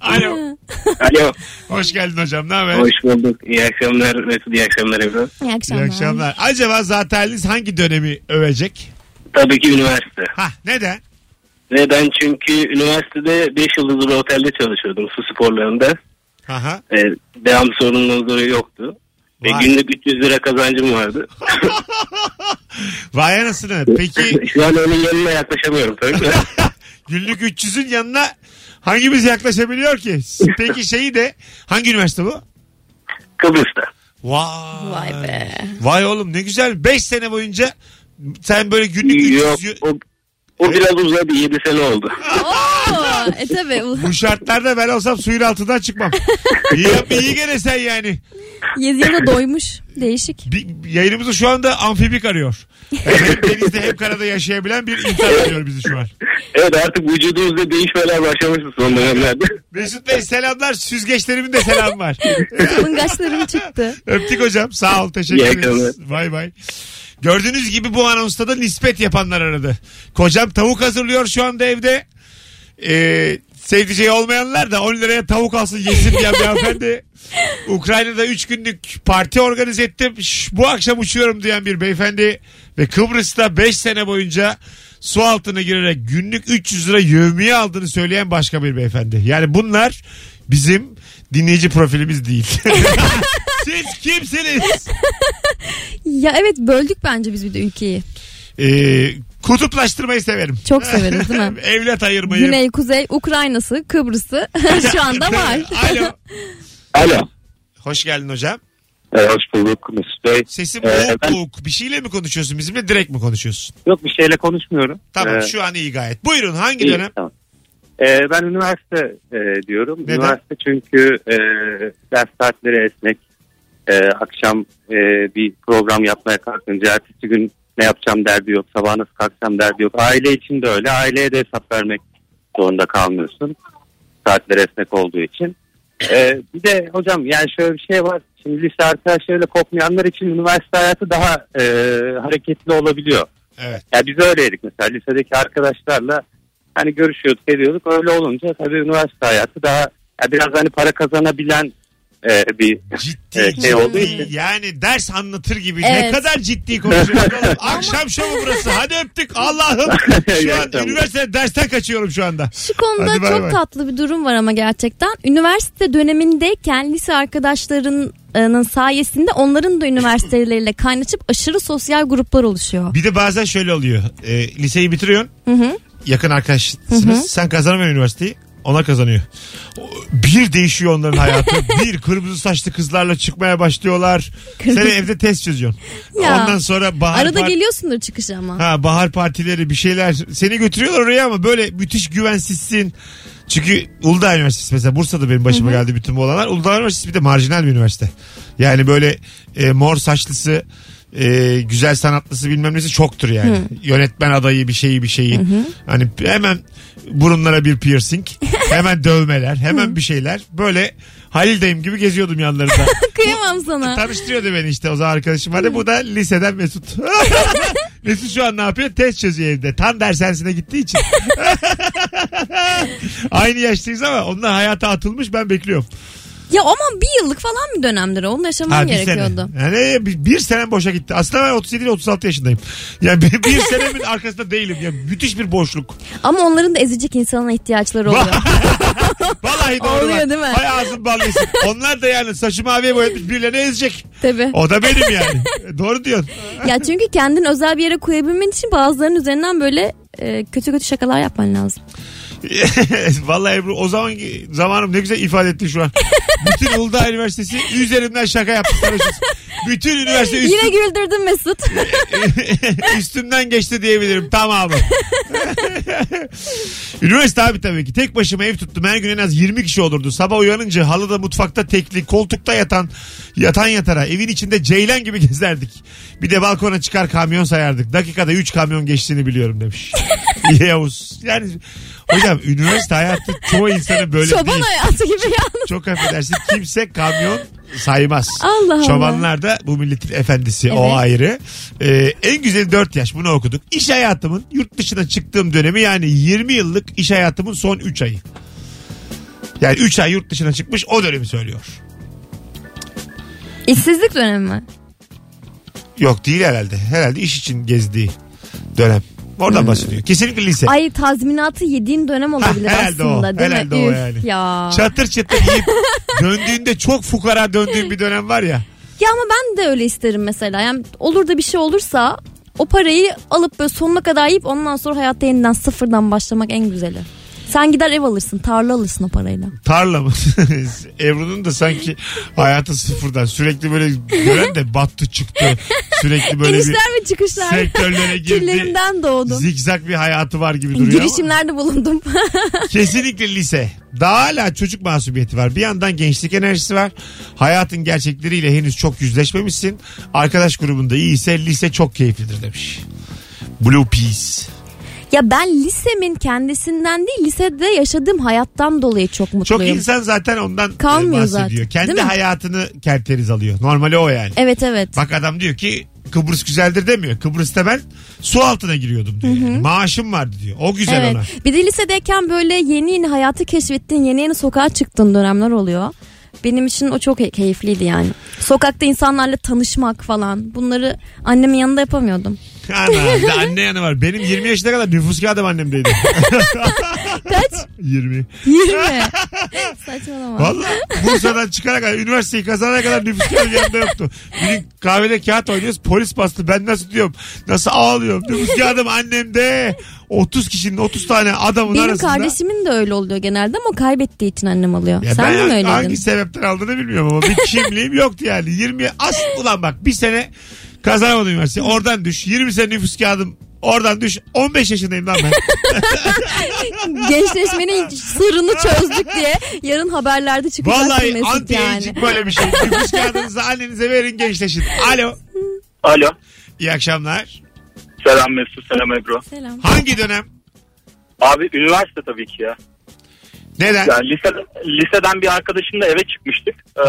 Speaker 2: Alo.
Speaker 6: Alo.
Speaker 2: Hoş geldin hocam. Ne haber?
Speaker 6: Hoş bulduk. İyi akşamlar Mesut. İyi akşamlar Ebru.
Speaker 3: İyi
Speaker 2: İyi
Speaker 3: akşamlar.
Speaker 2: akşamlar. Acaba zateniniz hangi dönemi övecek?
Speaker 6: Tabii ki üniversite.
Speaker 2: Ha neden?
Speaker 6: Ve ben çünkü üniversitede 5 yıldızlı bir otelde çalışıyordum su sporlarında.
Speaker 2: Aha.
Speaker 6: Ee, devam sorumluluğu yoktu.
Speaker 4: E,
Speaker 6: Ve
Speaker 2: Vay.
Speaker 6: günlük 300 lira kazancım vardı.
Speaker 2: Vay anasını. Peki
Speaker 6: Şu an onun yanına yaklaşamıyorum tabii ki.
Speaker 2: günlük 300'ün yanına hangimiz yaklaşabiliyor ki? Peki şeyi de hangi üniversite bu?
Speaker 6: Kıbrıs'ta.
Speaker 2: Vay.
Speaker 3: Vay be.
Speaker 2: Vay oğlum ne güzel. 5 sene boyunca sen böyle günlük 300
Speaker 6: Yok o, o biraz uzadı 7 sene oldu.
Speaker 3: Oo, e tabi
Speaker 2: Bu şartlarda ben olsam suyun altından çıkmam. iyi, yap- iyi gene sen yani.
Speaker 3: Yezyana doymuş. Değişik.
Speaker 2: Bir, yayınımızı şu anda amfibik arıyor. Yani hem denizde hem karada yaşayabilen bir insan arıyor bizi şu an.
Speaker 6: Evet artık vücudumuzda değişmeler başlamıştı son dönemlerde.
Speaker 2: Mesut Bey selamlar. Süzgeçlerimin de selam var.
Speaker 3: Mıngaçlarım çıktı.
Speaker 2: Öptük hocam. Sağ ol. Teşekkür
Speaker 6: İyi
Speaker 2: ederiz. Bay bay. Gördüğünüz gibi bu anonsta da nispet yapanlar aradı. Kocam tavuk hazırlıyor şu anda evde. Ee, sevdiceği olmayanlar da 10 liraya tavuk alsın yesin diyen bir hanımefendi. Ukrayna'da 3 günlük parti organize ettim. Şş, bu akşam uçuyorum diyen bir beyefendi. Ve Kıbrıs'ta 5 sene boyunca su altına girerek günlük 300 lira yövmiye aldığını söyleyen başka bir beyefendi. Yani bunlar bizim dinleyici profilimiz değil. Siz kimsiniz?
Speaker 3: Ya evet böldük bence biz bir de ülkeyi.
Speaker 2: Ee, kutuplaştırmayı severim.
Speaker 3: Çok severiz değil mi?
Speaker 2: Evlat ayırmayı.
Speaker 3: Güney, Kuzey, Ukrayna'sı, Kıbrıs'ı şu anda var.
Speaker 2: Alo.
Speaker 10: Alo.
Speaker 2: Hoş geldin hocam.
Speaker 10: hoş bulduk Mesut Bey.
Speaker 2: Sesin
Speaker 10: Ee,
Speaker 2: boğuk
Speaker 10: ben-
Speaker 2: boğuk. Bir şeyle mi konuşuyorsun bizimle direkt mi konuşuyorsun?
Speaker 4: Yok bir şeyle konuşmuyorum.
Speaker 2: Tamam
Speaker 4: Ee,
Speaker 2: şu an iyi gayet. Buyurun hangi
Speaker 4: iyi,
Speaker 2: dönem?
Speaker 4: tamam. Ee, ben üniversite e, diyorum.
Speaker 2: Neden?
Speaker 4: Üniversite çünkü e, ders saatleri esnek. E, akşam e, bir program yapmaya kalkınca ertesi gün ne yapacağım derdi yok. Sabah nasıl kalkacağım derdi yok. Aile için de öyle. Aileye de hesap vermek zorunda kalmıyorsun. Saatler esnek olduğu için. E, bir de hocam yani şöyle bir şey var. Şimdi lise arkadaşlarıyla kopmayanlar için üniversite hayatı daha e, hareketli olabiliyor.
Speaker 2: Evet.
Speaker 4: Ya biz öyleydik mesela lisedeki arkadaşlarla hani görüşüyorduk ediyorduk öyle olunca tabii üniversite hayatı daha ya biraz hani para kazanabilen e, bir
Speaker 2: Ciddi,
Speaker 4: Evet, şey olduğu
Speaker 2: ciddi.
Speaker 4: için.
Speaker 2: yani ders anlatır gibi ne
Speaker 3: Evet.
Speaker 2: kadar ciddi konuşuyorsun oğlum. Akşam şovu burası hadi öptük Allah'ım şu an
Speaker 4: Gerçekten.
Speaker 2: üniversitede dersten kaçıyorum şu anda
Speaker 3: Şu konuda
Speaker 2: Hadi bay
Speaker 3: çok
Speaker 2: bay.
Speaker 3: tatlı bir durum var ama gerçekten. Üniversite dönemindeyken lise arkadaşlarının sayesinde onların da üniversiteleriyle kaynaşıp aşırı sosyal gruplar oluşuyor.
Speaker 2: bir de bazen şöyle oluyor Ee, liseyi bitiriyorsun
Speaker 3: Hı hı.
Speaker 2: yakın arkadaşsınız. Sen kazanamıyorsun üniversiteyi. Ona kazanıyor. O- Bir değişiyor onların hayatı. bir kırmızı saçlı kızlarla çıkmaya başlıyorlar. Sen evde test çözüyorsun.
Speaker 3: Ya.
Speaker 2: Ondan sonra bahar
Speaker 3: Arada
Speaker 2: par-
Speaker 3: geliyorsundur çıkış ama.
Speaker 2: Ha bahar partileri bir şeyler seni götürüyorlar oraya ama böyle müthiş güvensizsin. Çünkü Uludağ Üniversitesi mesela Bursa'da benim başıma geldi bütün bu olanlar. Uludağ Üniversitesi bir de marjinal bir üniversite. Yani böyle e, mor saçlısı, e, güzel sanatlısı bilmem nesi çoktur yani. Yönetmen adayı bir şeyi bir şeyi. Hani hemen burunlara bir piercing, hemen dövmeler, hemen bir şeyler. Böyle Halil'deyim gibi geziyordum yanlarında.
Speaker 3: Kıyamam sana.
Speaker 2: Tanıştırıyordu beni işte o zaman arkadaşım vardı. Bu da liseden Mesut. Mesut şu an ne yapıyor? Test çözüyor evde. Tam dershanesine gittiği için. Aynı yaştayız ama onlar hayata atılmış ben bekliyorum.
Speaker 3: Ya aman bir yıllık falan bir dönemdir. Onu yaşamam
Speaker 2: bir sene.
Speaker 3: gerekiyordu.
Speaker 2: Yani bir, bir senem boşa gitti. Aslında ben 37 ile 36 yaşındayım. Yani bir, bir senemin arkasında değilim. Yani müthiş bir boşluk.
Speaker 3: Ama onların da ezecek insana ihtiyaçları oluyor.
Speaker 2: Vallahi doğru
Speaker 3: Oluyor
Speaker 2: bak.
Speaker 3: değil mi?
Speaker 2: Hay ağzın ballısın. onlar da yani saçı maviye boyatmış birilerini ezecek.
Speaker 3: Tabii.
Speaker 2: O da benim yani. doğru diyorsun.
Speaker 3: Ya çünkü kendin özel bir yere koyabilmen için bazılarının üzerinden böyle e, kötü kötü şakalar yapman lazım.
Speaker 2: Vallahi Ebru o zaman zamanım ne güzel ifade etti şu an. Bütün Uludağ Üniversitesi üzerinden şaka yaptı. Bütün üniversite üstü-
Speaker 3: Yine güldürdün Mesut.
Speaker 2: üstümden geçti diyebilirim tamamı. Üniversite abi tabii ki. Tek başıma ev tuttum. Her gün en az 20 kişi olurdu. Sabah uyanınca halıda mutfakta tekli, koltukta yatan, yatan yatara. Evin içinde ceylan gibi gezerdik. Bir de balkona çıkar kamyon sayardık. Dakikada 3 kamyon geçtiğini biliyorum demiş. Yavuz. Yani hocam üniversite hayatı çoğu insanın böyle
Speaker 3: Çoban
Speaker 2: değil.
Speaker 3: hayatı gibi yalnız.
Speaker 2: Çok affedersin kimse kamyon saymaz.
Speaker 3: Allah Allah.
Speaker 2: Çobanlar da bu milletin efendisi o
Speaker 3: Evet.
Speaker 2: ayrı. Ee, en güzeli 4 yaş bunu okuduk. İş hayatımın yurt dışına çıktığım dönemi yani 20 yıllık iş hayatımın son 3 ayı. Yani 3 ay yurt dışına çıkmış o dönemi söylüyor.
Speaker 3: İşsizlik dönemi mi?
Speaker 2: Yok değil herhalde. Herhalde iş için gezdiği dönem. Oradan bahsediyor. Kesinlikle lise.
Speaker 3: Ay tazminatı yediğin dönem olabilir
Speaker 2: herhalde o,
Speaker 3: aslında değil
Speaker 2: herhalde
Speaker 3: mi?
Speaker 2: o
Speaker 3: Üf
Speaker 2: yani.
Speaker 3: ya.
Speaker 2: Çatır çatır yiyip döndüğünde çok fukara döndüğün bir dönem var ya.
Speaker 3: Ya ama ben de öyle isterim mesela. Yani olur da bir şey olursa o parayı alıp böyle sonuna kadar yiyip ondan sonra hayatta yeniden sıfırdan başlamak en güzeli. Sen gider ev alırsın, tarla alırsın o parayla.
Speaker 2: tarla mı? Ebru'nun da sanki hayatı sıfırdan sürekli böyle gören de battı çıktı. Sürekli böyle bir
Speaker 3: İnişler ve çıkışlar.
Speaker 2: sektörlere girdi.
Speaker 3: Küllerimden doğdum.
Speaker 2: Zikzak bir hayatı var gibi duruyor ama
Speaker 3: Girişimlerde bulundum.
Speaker 2: kesinlikle lise. Daha hala çocuk masumiyeti var. Bir yandan gençlik enerjisi var. Hayatın gerçekleriyle henüz çok yüzleşmemişsin. Arkadaş grubunda iyiyse lise çok keyiflidir demiş. Blue Peas.
Speaker 3: ya ben lisemin kendisinden değil lisede yaşadığım hayattan dolayı çok
Speaker 2: Çok
Speaker 3: mutluyum.
Speaker 2: insan zaten ondan e,
Speaker 3: Kalmıyor zaten,
Speaker 2: bahsediyor. Kendi
Speaker 3: değil mi?
Speaker 2: hayatını kerteriz alıyor. Normali o yani.
Speaker 3: evet evet.
Speaker 2: Bak adam diyor ki Kıbrıs güzeldir demiyor. Kıbrıs'ta ben su altına giriyordum diyor. yani. Maaşım vardı diyor. O güzel
Speaker 3: evet.
Speaker 2: ona.
Speaker 3: Bir de lisedeyken böyle yeni yeni hayatı keşfettiğin, yeni yeni sokağa çıktığın dönemler oluyor. Benim için o çok keyifliydi yani. Sokakta insanlarla tanışmak falan. Bunları annemin yanında yapamıyordum.
Speaker 2: Ana, bir de anne yanı var. Benim 20 yaşına kadar nüfus kağıdım annemdeydi.
Speaker 3: Kaç?
Speaker 2: 20.
Speaker 3: 20. Saçmalama.
Speaker 2: Valla Bursa'dan çıkana kadar üniversiteyi kazanana kadar nüfus kağıdım yanımda yoktu. Bir gün kahvede kağıt oynuyoruz. Polis bastı. Ben nasıl diyorum? Nasıl ağlıyorum? Nüfus kağıdım annemde. 30 kişinin 30 tane adamın
Speaker 3: Benim
Speaker 2: arasında.
Speaker 3: kardeşimin de öyle oluyor genelde ama o kaybettiği için annem alıyor.
Speaker 2: Ya
Speaker 3: Sen
Speaker 2: ben
Speaker 3: de mi
Speaker 2: hangi-
Speaker 3: öyleydin?
Speaker 2: Hangi sebepten aldığını bilmiyorum ama bir kimliğim yoktu yani. 20 as ulan bak bir sene kazanamadım üniversite. Oradan düş. 20 sene nüfus kağıdım. Oradan düş. 15 yaşındayım lan ben.
Speaker 3: Gençleşmenin sırrını çözdük diye yarın haberlerde çıkacak bir
Speaker 2: Vallahi
Speaker 3: mesut
Speaker 2: anti
Speaker 3: yani.
Speaker 2: böyle bir şey. Nüfus kağıdınızı annenize verin gençleşin. Alo.
Speaker 5: Alo.
Speaker 2: İyi akşamlar.
Speaker 5: Selam Mesut. Selam Ebru.
Speaker 3: Selam.
Speaker 2: Hangi dönem?
Speaker 5: Abi üniversite tabii ki ya.
Speaker 2: Neden?
Speaker 5: Yani lise, liseden bir arkadaşımla eve çıkmıştık. Ee,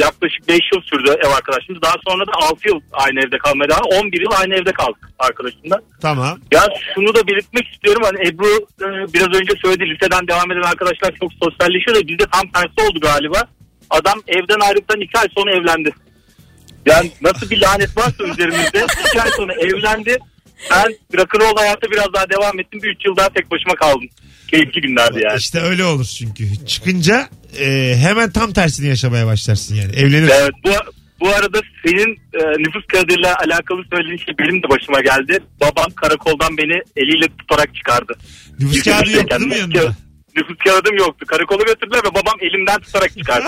Speaker 5: yaklaşık 5 yıl sürdü ev arkadaşımız. Daha sonra da 6 yıl aynı evde kalmaya devam. 11 yıl aynı evde kaldık arkadaşımla.
Speaker 2: Tamam.
Speaker 5: Ya şunu da belirtmek istiyorum. Hani Ebru e, biraz önce söyledi liseden devam eden arkadaşlar çok sosyalleşiyor da bizde tam tersi oldu galiba. Adam evden ayrıldıktan 2 ay sonra evlendi. Yani nasıl bir lanet varsa üzerimizde 2 ay sonra evlendi. Ben rock'n'roll hayata biraz daha devam ettim. Bir 3 yıl daha tek başıma kaldım. Keyifli günlerdi yani.
Speaker 2: İşte öyle olur çünkü. Çıkınca e, hemen tam tersini yaşamaya başlarsın yani. Evlenirsin.
Speaker 5: Evet bu bu arada senin e, nüfus kağıdıyla alakalı söylediğin şey benim de başıma geldi. Babam karakoldan beni eliyle tutarak çıkardı.
Speaker 2: Nüfus
Speaker 5: Yükümlüyken
Speaker 2: kağıdı yoktu mu
Speaker 5: nüfus
Speaker 2: yanında?
Speaker 5: kağıdı- Nüfus kağıdım yoktu. Karakola götürdüler ve babam elimden tutarak çıkardı.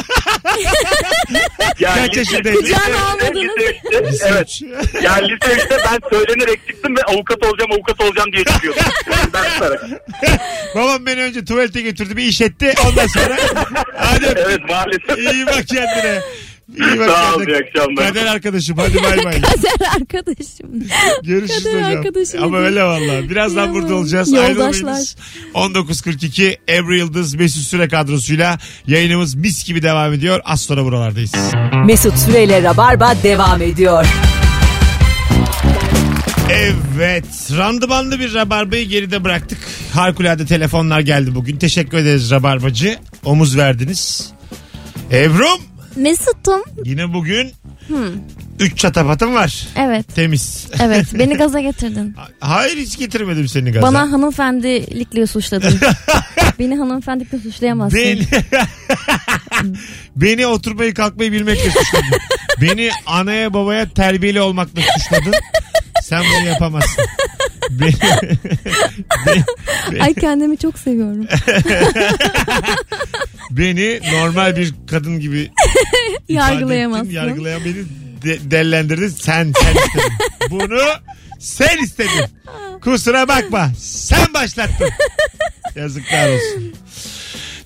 Speaker 2: Kaç yaşındaydın?
Speaker 3: Kucağına almadınız.
Speaker 5: üçte- evet. Yani lise 3'te ben söylenerek çıktım ve avukat olacağım avukat olacağım diye çıkıyordum. Elimden tutarak.
Speaker 2: Babam beni önce tuvalete götürdü bir iş etti. Ondan sonra hadi öptüm.
Speaker 5: Evet maalesef.
Speaker 2: İyi bak kendine. İyi bak
Speaker 5: Sağ ol,
Speaker 2: kendine.
Speaker 5: iyi akşamlar.
Speaker 2: Kader arkadaşım hadi bay bay.
Speaker 3: Kader arkadaşım.
Speaker 2: Görüşürüz
Speaker 3: Kader
Speaker 2: hocam.
Speaker 3: arkadaşım
Speaker 2: Ama
Speaker 3: dedi.
Speaker 2: öyle valla. Birazdan
Speaker 3: Ya.
Speaker 2: burada olacağız.
Speaker 3: Yoldaşlar.
Speaker 2: Ayrılmayınız. 19.42 Ebru Yıldız Mesut Süre kadrosuyla yayınımız mis gibi devam ediyor. Az sonra buralardayız.
Speaker 1: Mesut Süreyle Rabarba devam ediyor.
Speaker 2: Evet. Randımanlı bir rabarbayı geride bıraktık. Harikulade telefonlar geldi bugün. Teşekkür ederiz rabarbacı. Omuz verdiniz. Ebru'm
Speaker 3: Mesut'um.
Speaker 2: yine bugün 3 çatapatım var.
Speaker 3: Evet.
Speaker 2: Temiz.
Speaker 3: Evet beni gaza getirdin.
Speaker 2: Hayır hiç getirmedim seni gaza.
Speaker 3: Bana hanımefendilikle suçladın. Beni hanımefendilikle suçlayamazsın.
Speaker 2: Beni... Beni oturmayı kalkmayı bilmekle suçladın. Beni anaya babaya terbiyeli olmakla suçladın. Sen bunu yapamazsın. Beni-
Speaker 3: Ay kendimi çok seviyorum.
Speaker 2: beni normal bir kadın gibi ifade ettin,
Speaker 3: Yargılayamazsın.
Speaker 2: Yargılayan beni de- dellendirdin. Sen sen istedin. Bunu sen istedin. Kusura bakma. Sen başlattın. Yazıklar olsun.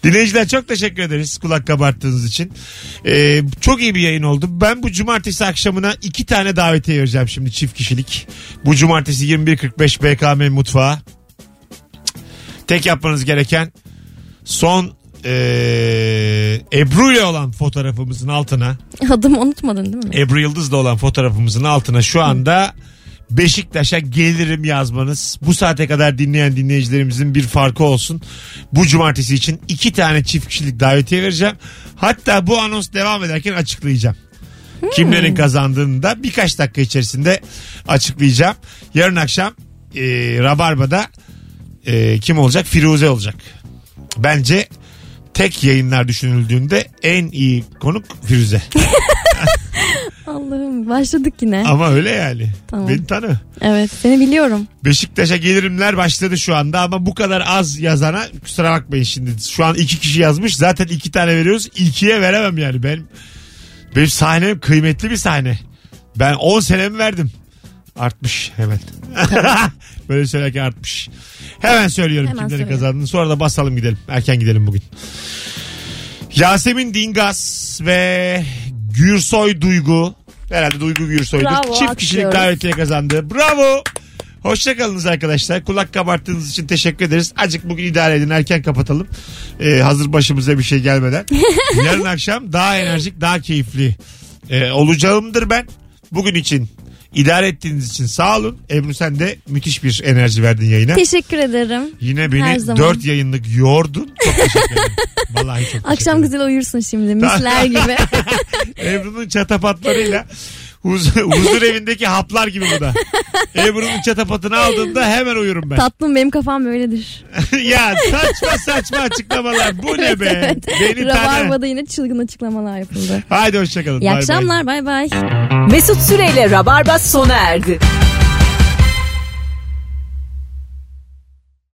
Speaker 2: Dinleyiciler çok teşekkür ederiz kulak kabarttığınız için. Ee, çok iyi bir yayın oldu. Ben bu cumartesi akşamına iki tane davetiye vereceğim şimdi çift kişilik. Bu cumartesi 21.45 BKM Mutfağı. Tek yapmanız gereken son ee, Ebru ile olan fotoğrafımızın altına
Speaker 3: Adımı unutmadın değil mi?
Speaker 2: Ebru Yıldız'la olan fotoğrafımızın altına şu anda Beşiktaş'a gelirim yazmanız bu saate kadar dinleyen dinleyicilerimizin bir farkı olsun. Bu cumartesi için iki tane çift kişilik davetiye vereceğim. Hatta bu anons devam ederken açıklayacağım. Kimlerin kazandığını da birkaç dakika içerisinde açıklayacağım. Yarın akşam e, Rabarba'da e, kim olacak? Firuze olacak. Bence tek yayınlar düşünüldüğünde en iyi konuk Firuze.
Speaker 3: Allah'ım başladık yine.
Speaker 2: Ama öyle yani.
Speaker 3: Tamam.
Speaker 2: Beni tanı.
Speaker 3: Evet seni biliyorum.
Speaker 2: Beşiktaş'a gelirimler başladı şu anda ama bu kadar az yazana kusura bakmayın şimdi. Şu an iki kişi yazmış. Zaten iki tane veriyoruz. İkiye veremem yani. Benim, benim sahnem kıymetli bir sahne. Ben 10 senemi verdim. Artmış hemen. Böyle söylerken artmış. Hemen söylüyorum
Speaker 3: Hemen
Speaker 2: kimlerin
Speaker 3: söyle.
Speaker 2: kazandığını. Sonra da basalım gidelim. Erken gidelim bugün. Yasemin Dingas ve Gürsoy Duygu. Herhalde Duygu Gürsoy'dur.
Speaker 3: Bravo,
Speaker 2: Çift kişilik
Speaker 3: alkışlıyoruz.
Speaker 2: davetiye kazandı. Bravo. Hoşçakalınız arkadaşlar. Kulak kabarttığınız için teşekkür ederiz. Acık bugün idare edin. Erken kapatalım. Ee, hazır başımıza bir şey gelmeden. Yarın akşam daha enerjik, daha keyifli ee, olacağımdır ben. Bugün için idare ettiğiniz için sağ olun. Ebru sen de müthiş bir enerji verdin yayına.
Speaker 3: Teşekkür ederim.
Speaker 2: Yine
Speaker 3: Her
Speaker 2: beni
Speaker 3: zaman.
Speaker 2: dört yayınlık yordun. Çok teşekkür ederim. Vallahi çok teşekkür
Speaker 3: Akşam
Speaker 2: ederim.
Speaker 3: güzel uyursun şimdi misler gibi.
Speaker 2: Ebru'nun çatapatlarıyla huzur, huzur evindeki haplar gibi bu da. Ebru'nun çatapatını aldığında hemen uyurum ben.
Speaker 3: Tatlım benim kafam böyledir.
Speaker 2: ya saçma saçma açıklamalar. Bu ne
Speaker 3: Evet,
Speaker 2: be?
Speaker 3: evet.
Speaker 2: Beni tanı.
Speaker 3: Rabarba'da yine çılgın açıklamalar yapıldı.
Speaker 2: Haydi hoşçakalın.
Speaker 3: İyi
Speaker 2: Bay bay.
Speaker 3: akşamlar bay bay.
Speaker 1: Mesut Süreyle Rabarba sona erdi.